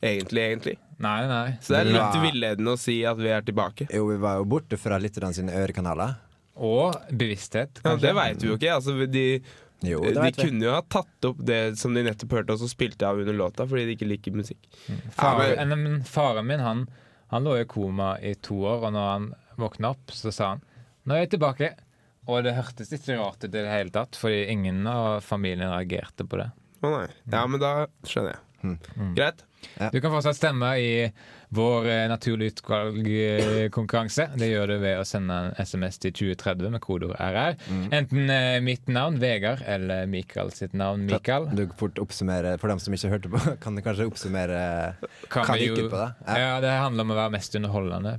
[SPEAKER 6] egentlig, egentlig.
[SPEAKER 4] Nei, nei.
[SPEAKER 6] Så det er
[SPEAKER 5] Men
[SPEAKER 6] litt
[SPEAKER 5] hva-
[SPEAKER 6] villedende å si at vi er tilbake.
[SPEAKER 5] Jo, vi var jo borte fra litt av sine ørekanaler.
[SPEAKER 4] Og bevissthet,
[SPEAKER 6] Ja,
[SPEAKER 4] kanskje.
[SPEAKER 6] det veit vi jo ikke. Altså, de
[SPEAKER 5] Jo, det
[SPEAKER 6] de
[SPEAKER 5] vet vi.
[SPEAKER 6] kunne jo ha tatt opp det som de nettopp hørte, og så spilte av under låta fordi de ikke liker musikk.
[SPEAKER 4] Faren,
[SPEAKER 6] Ja,
[SPEAKER 4] nei, men faren min han, han lå i koma i to år, og når han våkna opp, så sa han Nå er jeg tilbake. Og det hørtes ikke rart ut i det hele tatt, fordi ingen av familien reagerte på det.
[SPEAKER 6] Å nei. Ja, men da skjønner jeg. Greit.
[SPEAKER 4] Du kan fortsatt stemme i vår eh, naturlig utvalg-konkurranse. Det gjør du ved å sende en SMS til 2030 med kodeord RR. Enten eh, mitt navn, Vegard, eller Mikael sitt navn, Mikael.
[SPEAKER 5] Du kan fort oppsummere, For dem som ikke hørte på, kan du kanskje oppsummere
[SPEAKER 4] Kan
[SPEAKER 5] kan
[SPEAKER 4] vi
[SPEAKER 5] ikke på det. Ja.
[SPEAKER 4] Ja. det handler om å være mest underholdende.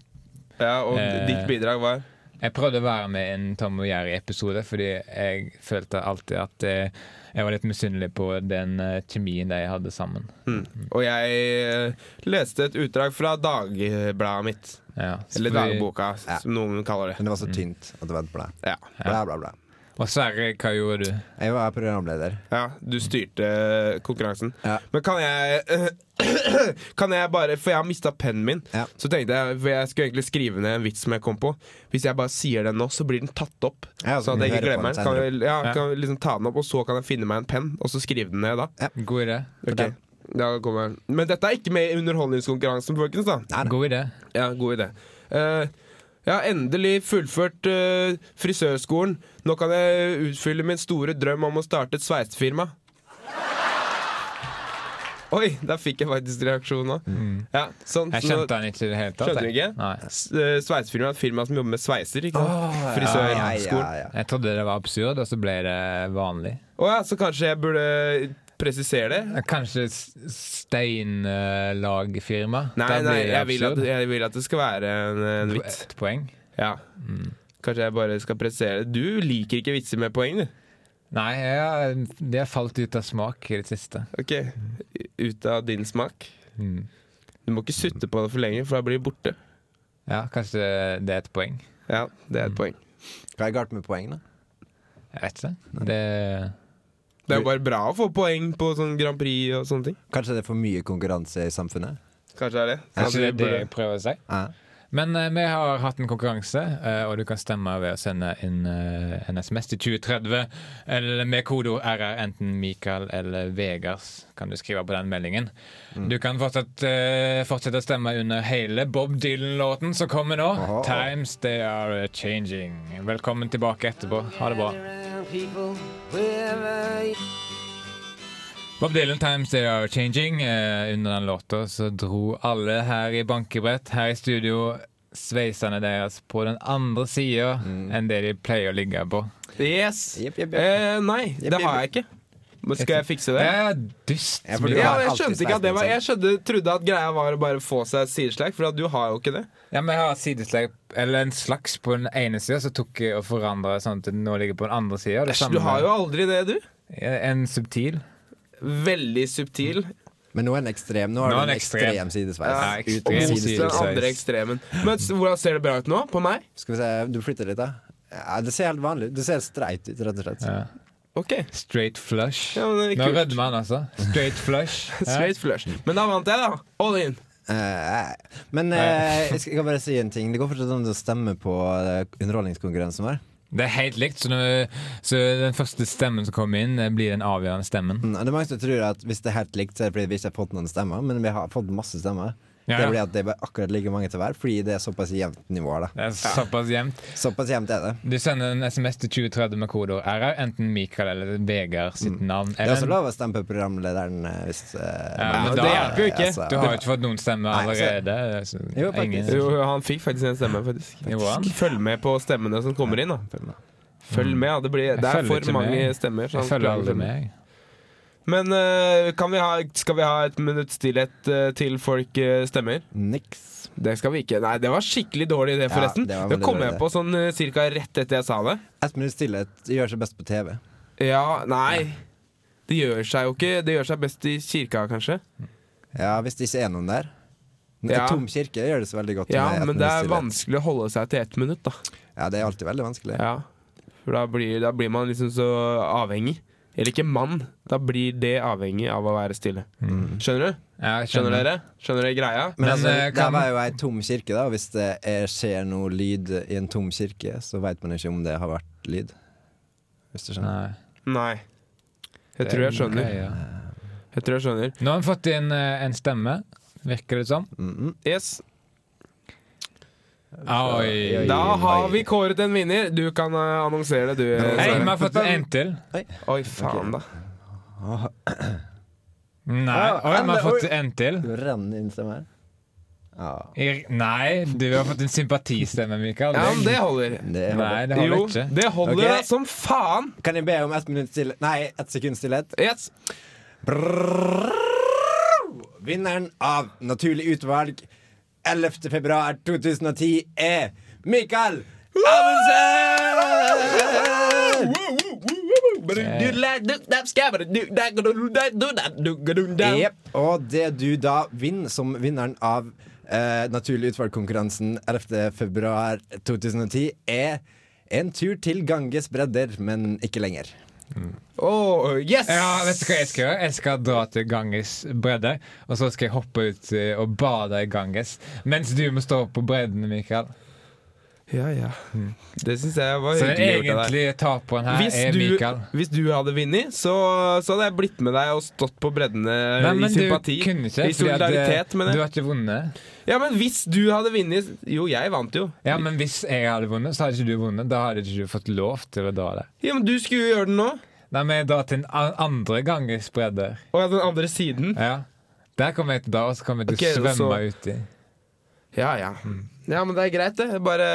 [SPEAKER 6] Ja, og
[SPEAKER 4] Eh.
[SPEAKER 6] ditt bidrag var
[SPEAKER 4] Jeg prøvde å være med i en Tom og Jerry-episode, fordi jeg følte alltid at eh, jeg var litt misunnelig på den eh, kjemien de hadde sammen.
[SPEAKER 6] Og jeg eh, leste et utdrag fra dagbladet mitt.
[SPEAKER 4] Ja, så
[SPEAKER 6] Eller
[SPEAKER 4] fordi-
[SPEAKER 6] dagboka, som noen kaller det.
[SPEAKER 5] Men det var så tynt at det var et blæ.
[SPEAKER 6] Mm. Ja.
[SPEAKER 5] Blæ, blæ, blæ.
[SPEAKER 4] Og Sverre, hva gjorde du?
[SPEAKER 5] Jeg var programleder.
[SPEAKER 6] ja, Du styrte eh, konkurransen.
[SPEAKER 5] Ja.
[SPEAKER 6] Men kan jeg Kan jeg bare For jeg har mista pennen min.
[SPEAKER 5] Ja.
[SPEAKER 6] Så tenkte jeg For jeg skulle egentlig skrive ned en vits som jeg kom på. Hvis jeg bare sier den nå, så blir den tatt opp.
[SPEAKER 5] Ja,
[SPEAKER 6] så at jeg ikke
[SPEAKER 5] vi hører på
[SPEAKER 6] glemmer
[SPEAKER 5] den
[SPEAKER 6] den. Kan
[SPEAKER 5] senere.
[SPEAKER 6] jeg, ja,
[SPEAKER 4] Ja.
[SPEAKER 6] kan jeg liksom ta den opp, og så kan jeg finne meg en penn, og så skrive den ned da.
[SPEAKER 4] God idé.
[SPEAKER 6] Ok, da kommer den. Men dette er ikke med i underholdningskonkurransen, folkens. da
[SPEAKER 4] God idé.
[SPEAKER 6] Ja, god idé. Eh, jeg har endelig fullført eh, frisørskolen. Nå kan jeg utfylle min store drøm om å starte et sveisefirma. Oi, der fikk jeg faktisk reaksjon nå. Ja, sånn,
[SPEAKER 4] Jeg
[SPEAKER 6] så nå-
[SPEAKER 4] skjønte han ikke i det hele tatt.
[SPEAKER 6] Skjønte du
[SPEAKER 4] jeg.
[SPEAKER 6] ikke?
[SPEAKER 4] Nei.
[SPEAKER 6] S- eh, Sveisefirma er et firma som jobber med sveiser. Ikke sant?
[SPEAKER 5] ja, ja,
[SPEAKER 6] Frisørskolen.
[SPEAKER 5] ja.
[SPEAKER 4] Jeg trodde det var absurd, og så ble det vanlig.
[SPEAKER 6] Å ja, så kanskje jeg burde presisere det?
[SPEAKER 4] Kanskje s- steinlagfirma?
[SPEAKER 6] Nei,
[SPEAKER 4] Da blir
[SPEAKER 6] nei,
[SPEAKER 4] det
[SPEAKER 6] jeg vil, at,
[SPEAKER 4] absurd.
[SPEAKER 6] jeg vil at det skal være en, en vits.
[SPEAKER 4] Et poeng.
[SPEAKER 6] Ja. Kanskje jeg bare skal presisere det. Du liker ikke vitser med poeng, du.
[SPEAKER 4] Nei, jeg, det har falt ut av smak i det siste.
[SPEAKER 6] Ok, ut av din smak.
[SPEAKER 4] Mm.
[SPEAKER 6] Du må ikke sutte på det for lenge, for da blir det borte.
[SPEAKER 4] Ja, kanskje det er et poeng.
[SPEAKER 6] Ja, det
[SPEAKER 4] Mm.
[SPEAKER 6] er et poeng.
[SPEAKER 5] Hva er galt med poengene?
[SPEAKER 4] Jeg vet ikke. Det
[SPEAKER 6] Det er jo bare bra å få poeng på sånn Grand Prix og sånne ting.
[SPEAKER 5] Kanskje det er for mye konkurranse i samfunnet?
[SPEAKER 6] Kanskje det er det.
[SPEAKER 4] Kanskje det
[SPEAKER 6] Kanskje
[SPEAKER 4] er
[SPEAKER 6] vi
[SPEAKER 4] det jeg
[SPEAKER 6] burde-
[SPEAKER 4] prøver å si.
[SPEAKER 5] Ja.
[SPEAKER 4] Men eh, vi har hatt en konkurranse, eh, og du kan stemme ved å sende inn eh, en SMS til 2030 eller med kodeord RR, enten Mikael eller Vegas, kan du skrive på den meldingen. Du kan fortsatt, eh, fortsette å stemme under hele Bob Dylan-låten som kommer nå.
[SPEAKER 5] Aha.
[SPEAKER 4] Times They Are Changing. Velkommen tilbake etterpå. Ha det bra. Bob Dylan, 'Times They Are Changing'. Eh, under den låta så dro alle her i bankebrett, her i studio, sveisene deres på den andre sida
[SPEAKER 6] Mm.
[SPEAKER 4] enn det de pleier å ligge på.
[SPEAKER 6] Yes!
[SPEAKER 5] Jepp, jepp, jepp.
[SPEAKER 6] Eh, nei, det har jeg ikke. Men skal jeg fikse
[SPEAKER 4] Det
[SPEAKER 6] det?
[SPEAKER 4] er dust.
[SPEAKER 5] Ja, for du
[SPEAKER 6] Ja,
[SPEAKER 5] har
[SPEAKER 6] jeg
[SPEAKER 5] alltid sånn.
[SPEAKER 6] skjønte ikke at det var
[SPEAKER 5] sveisen,
[SPEAKER 6] Jeg skjønte, trodde at greia var å bare få seg sidesleik, for at du har jo ikke det.
[SPEAKER 4] Ja, men jeg har sidesleip, eller en slags på den ene sida, så tok jeg og forandra sånn at det nå ligger på den andre sida.
[SPEAKER 6] Du har jo aldri det, du.
[SPEAKER 4] En subtil.
[SPEAKER 6] Veldig subtil.
[SPEAKER 5] Men nå er den ekstrem. Nå har
[SPEAKER 4] Nå er
[SPEAKER 5] du en
[SPEAKER 4] den ekstrem.
[SPEAKER 5] ekstrem sidesveis.
[SPEAKER 4] Ja, ekstrem
[SPEAKER 5] Uten
[SPEAKER 6] Mot
[SPEAKER 4] sidesveis.
[SPEAKER 6] den andre ekstremen. Men s- hvordan ser det bra ut nå? På meg?
[SPEAKER 5] Skal vi se, du flytter litt, da. Ja, det ser helt vanlig ut. Det ser streit ut, rett og slett.
[SPEAKER 4] Ja.
[SPEAKER 6] Ok.
[SPEAKER 4] Straight flush.
[SPEAKER 6] Ja, men det er
[SPEAKER 4] Nå
[SPEAKER 6] kult.
[SPEAKER 4] rødmer han, altså. Straight flush. Ja.
[SPEAKER 6] Straight flush. Men da vant jeg, da. All in.
[SPEAKER 5] Eh, men eh, jeg skal- jeg kan bare si en ting. Det går fortsatt an å stemme på eh, underholdningskonkurransen vår.
[SPEAKER 4] Det er helt likt, så, nå- så den første stemmen som kommer inn, eh, blir den avgjørende stemmen.
[SPEAKER 5] Mm, Det er mange som tror at hvis det er helt likt, så er det fordi vi ikke har fått noen stemmer, men vi har fått masse stemmer.
[SPEAKER 4] Ja,
[SPEAKER 5] Det
[SPEAKER 4] ja.
[SPEAKER 5] er fordi at det er bare akkurat like mange til hver, fordi det er såpass jevnt nivå. da
[SPEAKER 4] Det er såpass jevnt.
[SPEAKER 5] Såpass jevnt er det.
[SPEAKER 4] Du sender en SMS til 2030 med kodeord RR, enten Mikael eller Vegard sitt navn.
[SPEAKER 5] Det er også
[SPEAKER 4] Ellen.
[SPEAKER 5] lov å stemme på programlederen eh, hvis eh,
[SPEAKER 4] Ja,
[SPEAKER 5] man-
[SPEAKER 4] men det hjelper jo ikke.
[SPEAKER 5] altså,
[SPEAKER 4] Du har jo ikke fått noen stemmer
[SPEAKER 5] Nei, altså-
[SPEAKER 4] allerede. så
[SPEAKER 5] Jo, faktisk.
[SPEAKER 4] ingen-
[SPEAKER 6] Jo, han fikk faktisk en stemme, faktisk.
[SPEAKER 4] Jo, han.
[SPEAKER 6] Følg med på stemmene som kommer inn, da.
[SPEAKER 5] Følg med.
[SPEAKER 6] Følg med, da. Det, blir, det er
[SPEAKER 4] følger
[SPEAKER 6] for
[SPEAKER 4] ikke
[SPEAKER 6] mange
[SPEAKER 4] med.
[SPEAKER 6] stemmer. så
[SPEAKER 4] Jeg
[SPEAKER 6] han
[SPEAKER 4] følger
[SPEAKER 6] klarer
[SPEAKER 4] aldri
[SPEAKER 6] ikke.
[SPEAKER 4] med. jeg.
[SPEAKER 6] Men eh, kan vi ha, skal vi ha et minutts stillhet eh, til folk eh, stemmer?
[SPEAKER 5] Niks.
[SPEAKER 6] Det skal vi ikke. Nei, det var skikkelig dårlig idé,
[SPEAKER 5] Ja,
[SPEAKER 6] forresten.
[SPEAKER 5] det var
[SPEAKER 6] det
[SPEAKER 5] veldig
[SPEAKER 6] kom
[SPEAKER 5] dårlig
[SPEAKER 6] jeg
[SPEAKER 5] idé.
[SPEAKER 6] på sånn eh, cirka rett etter jeg sa det.
[SPEAKER 5] Ett minutts stillhet gjør seg best på TV.
[SPEAKER 6] Ja, nei. Det gjør seg jo ikke Det gjør seg best i kirka, kanskje.
[SPEAKER 5] Ja, Hvis det ikke er noen der. En
[SPEAKER 6] Ja.
[SPEAKER 5] tom kirke gjør det så veldig godt.
[SPEAKER 6] Ja,
[SPEAKER 5] med ett
[SPEAKER 6] men det
[SPEAKER 5] minutts
[SPEAKER 6] er
[SPEAKER 5] stillhet.
[SPEAKER 6] vanskelig å holde seg til ett minutt, da.
[SPEAKER 5] Ja, det er alltid veldig vanskelig.
[SPEAKER 6] Ja, for da blir, da blir man liksom så avhengig. Eller ikke mann. Da blir det avhengig av å være stille.
[SPEAKER 4] Mm.
[SPEAKER 6] Skjønner du?
[SPEAKER 4] Ja, jeg
[SPEAKER 6] Skjønner dere? Skjønner dere greia?
[SPEAKER 5] Men,
[SPEAKER 4] Men,
[SPEAKER 5] altså,
[SPEAKER 4] eh,
[SPEAKER 5] der
[SPEAKER 4] kan-
[SPEAKER 5] var jo ei tom kirke, da. Og hvis det er, skjer noe lyd i en tom kirke, så veit man ikke om det har vært lyd. Hvis du skjønner.
[SPEAKER 4] Nei.
[SPEAKER 6] Nei. Jeg tror jeg skjønner.
[SPEAKER 4] Ok, ja.
[SPEAKER 6] Jeg tror jeg skjønner.
[SPEAKER 4] Nå har han fått inn eh, en stemme, virker det som.
[SPEAKER 5] Mm -mm.
[SPEAKER 6] Yes.
[SPEAKER 4] Oi.
[SPEAKER 5] Oi.
[SPEAKER 6] Da har vi kåret en vinner. Du kan eh, annonsere det, du. eh,
[SPEAKER 4] Hei,
[SPEAKER 6] Sverre.
[SPEAKER 4] vi har fått en til.
[SPEAKER 6] Oi, faen, da.
[SPEAKER 4] Nei, oi, vi har fått en til.
[SPEAKER 5] Du renner inn stemmen her. Ja,
[SPEAKER 4] I- Nei, du har fått en sympatistemme, Mikael.
[SPEAKER 6] Ja, men det holder.
[SPEAKER 5] det holder.
[SPEAKER 4] Nei, det har vi
[SPEAKER 6] Jo,
[SPEAKER 4] ikke.
[SPEAKER 6] det holder
[SPEAKER 5] Ok.
[SPEAKER 6] da som faen.
[SPEAKER 5] Kan jeg be om ett minutt stillhet? Nei, ett sekund stillhet.
[SPEAKER 6] Yes.
[SPEAKER 5] Vinneren av Naturlig utvalg 11. februar 2010 er Mikael Amundsen!
[SPEAKER 6] Yep.
[SPEAKER 5] Jep, og det du da vinner som vinneren av eh, Naturlig utvalg-konkurransen 11. februar 2010, er en tur til Ganges bredder, men ikke lenger.
[SPEAKER 6] Oh, yes!
[SPEAKER 4] Ja, vet du hva jeg skal gjøre? Jeg skal dra til Ganges bredde, og så skal jeg hoppe ut eh, og bade i Ganges. Mens du må stå på bredden, Mikael.
[SPEAKER 6] Ja, ja. Det syns jeg
[SPEAKER 4] Mm.
[SPEAKER 6] var
[SPEAKER 4] Så den
[SPEAKER 6] hyggelig gjort av deg.
[SPEAKER 4] egentlige taperen her
[SPEAKER 6] Hvis
[SPEAKER 4] er Mikael.
[SPEAKER 6] du, eh, hvis du hadde vunnet, så, så hadde jeg blitt med deg og stått på breddene
[SPEAKER 4] Nei, men
[SPEAKER 6] i
[SPEAKER 4] du
[SPEAKER 6] sympati.
[SPEAKER 4] kunne ikke, fordi at,
[SPEAKER 6] I solidaritet,
[SPEAKER 4] eh,
[SPEAKER 6] mener
[SPEAKER 4] Du
[SPEAKER 6] jeg.
[SPEAKER 4] har ikke vunnet.
[SPEAKER 6] Ja, men hvis du hadde vunnet Jo, jeg vant jo.
[SPEAKER 4] Ja, men hvis jeg hadde vunnet, så hadde ikke du vunnet. Da hadde ikke du fått lov til å dra der.
[SPEAKER 6] Ja, Men du skulle jo gjøre det nå.
[SPEAKER 4] Nei, men jeg drar til den an- andre Ganges bredde.
[SPEAKER 6] Og ja, den andre siden.
[SPEAKER 4] Ja. Der kommer jeg til da, og så kommer jeg til
[SPEAKER 6] Ok,
[SPEAKER 4] å svømme
[SPEAKER 6] så-
[SPEAKER 4] uti.
[SPEAKER 6] Ja, ja. Mm. Ja, men det er greit, det. Bare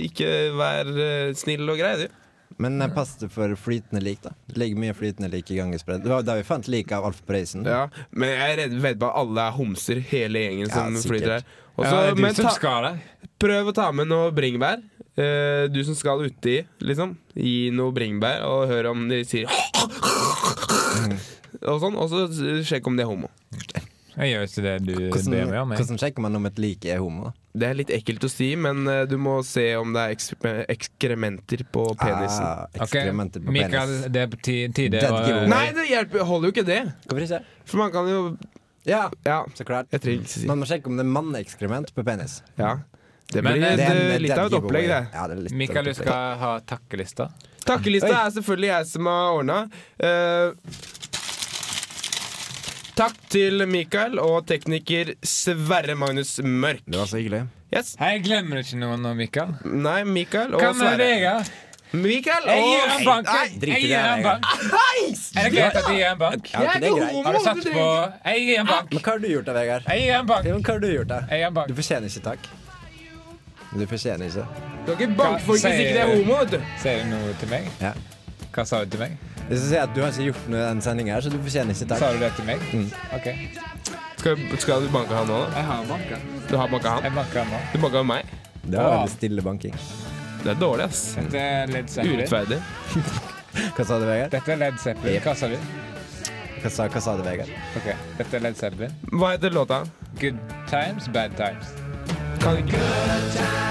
[SPEAKER 6] ikke vær eh, snill og grei, du.
[SPEAKER 5] Men eh, pass deg for flytende lik, da. Det ligger mye flytende lik i Ganges bredder. Det var da vi fant liket av Alf Prøysen.
[SPEAKER 6] Ja, Men jeg er redd vet på at alle er homser, hele gjengen som
[SPEAKER 5] sikkert.
[SPEAKER 6] flyter her.
[SPEAKER 4] Ja,
[SPEAKER 6] Også,
[SPEAKER 4] det er du
[SPEAKER 6] men
[SPEAKER 4] som
[SPEAKER 6] ta,
[SPEAKER 4] skal der.
[SPEAKER 6] prøv å ta med noe bringebær. Eh, du som skal uti, liksom. Gi noe bringebær, og hør om de sier Og sånn, og så s- sjekk om de er homo.
[SPEAKER 4] Jeg gjør ikke det du ber meg
[SPEAKER 5] Hvordan,
[SPEAKER 4] om. Jeg.
[SPEAKER 5] hvordan sjekker man om et like er homo? da?
[SPEAKER 6] Det er litt ekkelt å si, men eh, du må se om det er ekskre- ekskrementer på penisen.
[SPEAKER 5] Ah,
[SPEAKER 4] Ok,
[SPEAKER 5] eksperimenter på
[SPEAKER 4] Mikael,
[SPEAKER 5] penis.
[SPEAKER 4] det er på ti- tide
[SPEAKER 5] Dead
[SPEAKER 4] å
[SPEAKER 5] giveaway.
[SPEAKER 6] Nei, det hjelper, holder jo ikke det.
[SPEAKER 5] Hvorfor ikke?
[SPEAKER 6] For man kan jo
[SPEAKER 5] Ja,
[SPEAKER 6] Ja,
[SPEAKER 5] så klart.
[SPEAKER 6] jeg trenger ikke si
[SPEAKER 5] Man må sjekke om det er manneekskrement på penis.
[SPEAKER 2] Eh,
[SPEAKER 6] Ja. Det
[SPEAKER 4] Men,
[SPEAKER 6] blir
[SPEAKER 4] eh,
[SPEAKER 6] et,
[SPEAKER 5] er en
[SPEAKER 6] eh, litt
[SPEAKER 5] dead
[SPEAKER 6] av et opplegg,
[SPEAKER 5] giveaway.
[SPEAKER 6] det.
[SPEAKER 5] Ja, det er litt av et
[SPEAKER 4] Mikael, du
[SPEAKER 5] opplegg.
[SPEAKER 4] skal ha takkelista.
[SPEAKER 6] Takkelista er selvfølgelig jeg som har ordna. takk til Mikael og tekniker Sverre Magnus Mørk.
[SPEAKER 5] Det var så hyggelig.
[SPEAKER 6] Yes.
[SPEAKER 4] Hei, glemmer du ikke noen nå, Mikael?
[SPEAKER 6] Nei, Mikael og
[SPEAKER 4] Hva med
[SPEAKER 6] Sverre.
[SPEAKER 4] Vegard?
[SPEAKER 6] Mikael
[SPEAKER 4] Jeg gir
[SPEAKER 6] og
[SPEAKER 4] han bank.
[SPEAKER 6] Nei,
[SPEAKER 4] jeg.
[SPEAKER 5] drit i
[SPEAKER 4] Jeg
[SPEAKER 5] det,
[SPEAKER 4] gir han
[SPEAKER 5] Vegard.
[SPEAKER 4] bank. Er det greit at jeg gir han bank?
[SPEAKER 5] Ja, ikke det er greit.
[SPEAKER 4] Har du satt på Jeg gir han bank.
[SPEAKER 5] Men hva har du gjort da, Vegard?
[SPEAKER 4] Jeg gir han bank.
[SPEAKER 5] Ja, men hva har du gjort da?
[SPEAKER 4] Jeg gir han
[SPEAKER 5] Du
[SPEAKER 4] bank.
[SPEAKER 5] fortjener ikke takk. Du fortjener ikke.
[SPEAKER 6] Du har ikke bank for hvis
[SPEAKER 4] Sier-
[SPEAKER 6] ikke det er homo, vet du.
[SPEAKER 4] Sier du noe til meg?
[SPEAKER 5] Ja.
[SPEAKER 4] Hva sa du til meg?
[SPEAKER 5] Hvis du sier at du har ikke gjort noe i den sendingen her, så du fortjener
[SPEAKER 4] Sa
[SPEAKER 5] ikke takk.
[SPEAKER 4] du
[SPEAKER 5] Mm.
[SPEAKER 4] det til meg? OK.
[SPEAKER 6] Skal, skal du banke han nå, da?
[SPEAKER 4] Jeg har banka.
[SPEAKER 6] Du har banka han?
[SPEAKER 4] Jeg banka nå.
[SPEAKER 6] Du banka meg?
[SPEAKER 5] Det var veldig stille banking.
[SPEAKER 6] Det er dårlig, ass.
[SPEAKER 4] Dette er Led Zeppelin.
[SPEAKER 6] Urettferdig.
[SPEAKER 5] Hva sa du, Vegard?
[SPEAKER 4] Dette er Led Zeppelin. Hva sa du?
[SPEAKER 5] Hva sa, hva sa du, Vegard?
[SPEAKER 4] OK. Dette er Led Zeppelin.
[SPEAKER 6] Hva heter låta?
[SPEAKER 4] Good times, bad times.
[SPEAKER 6] Kan ikke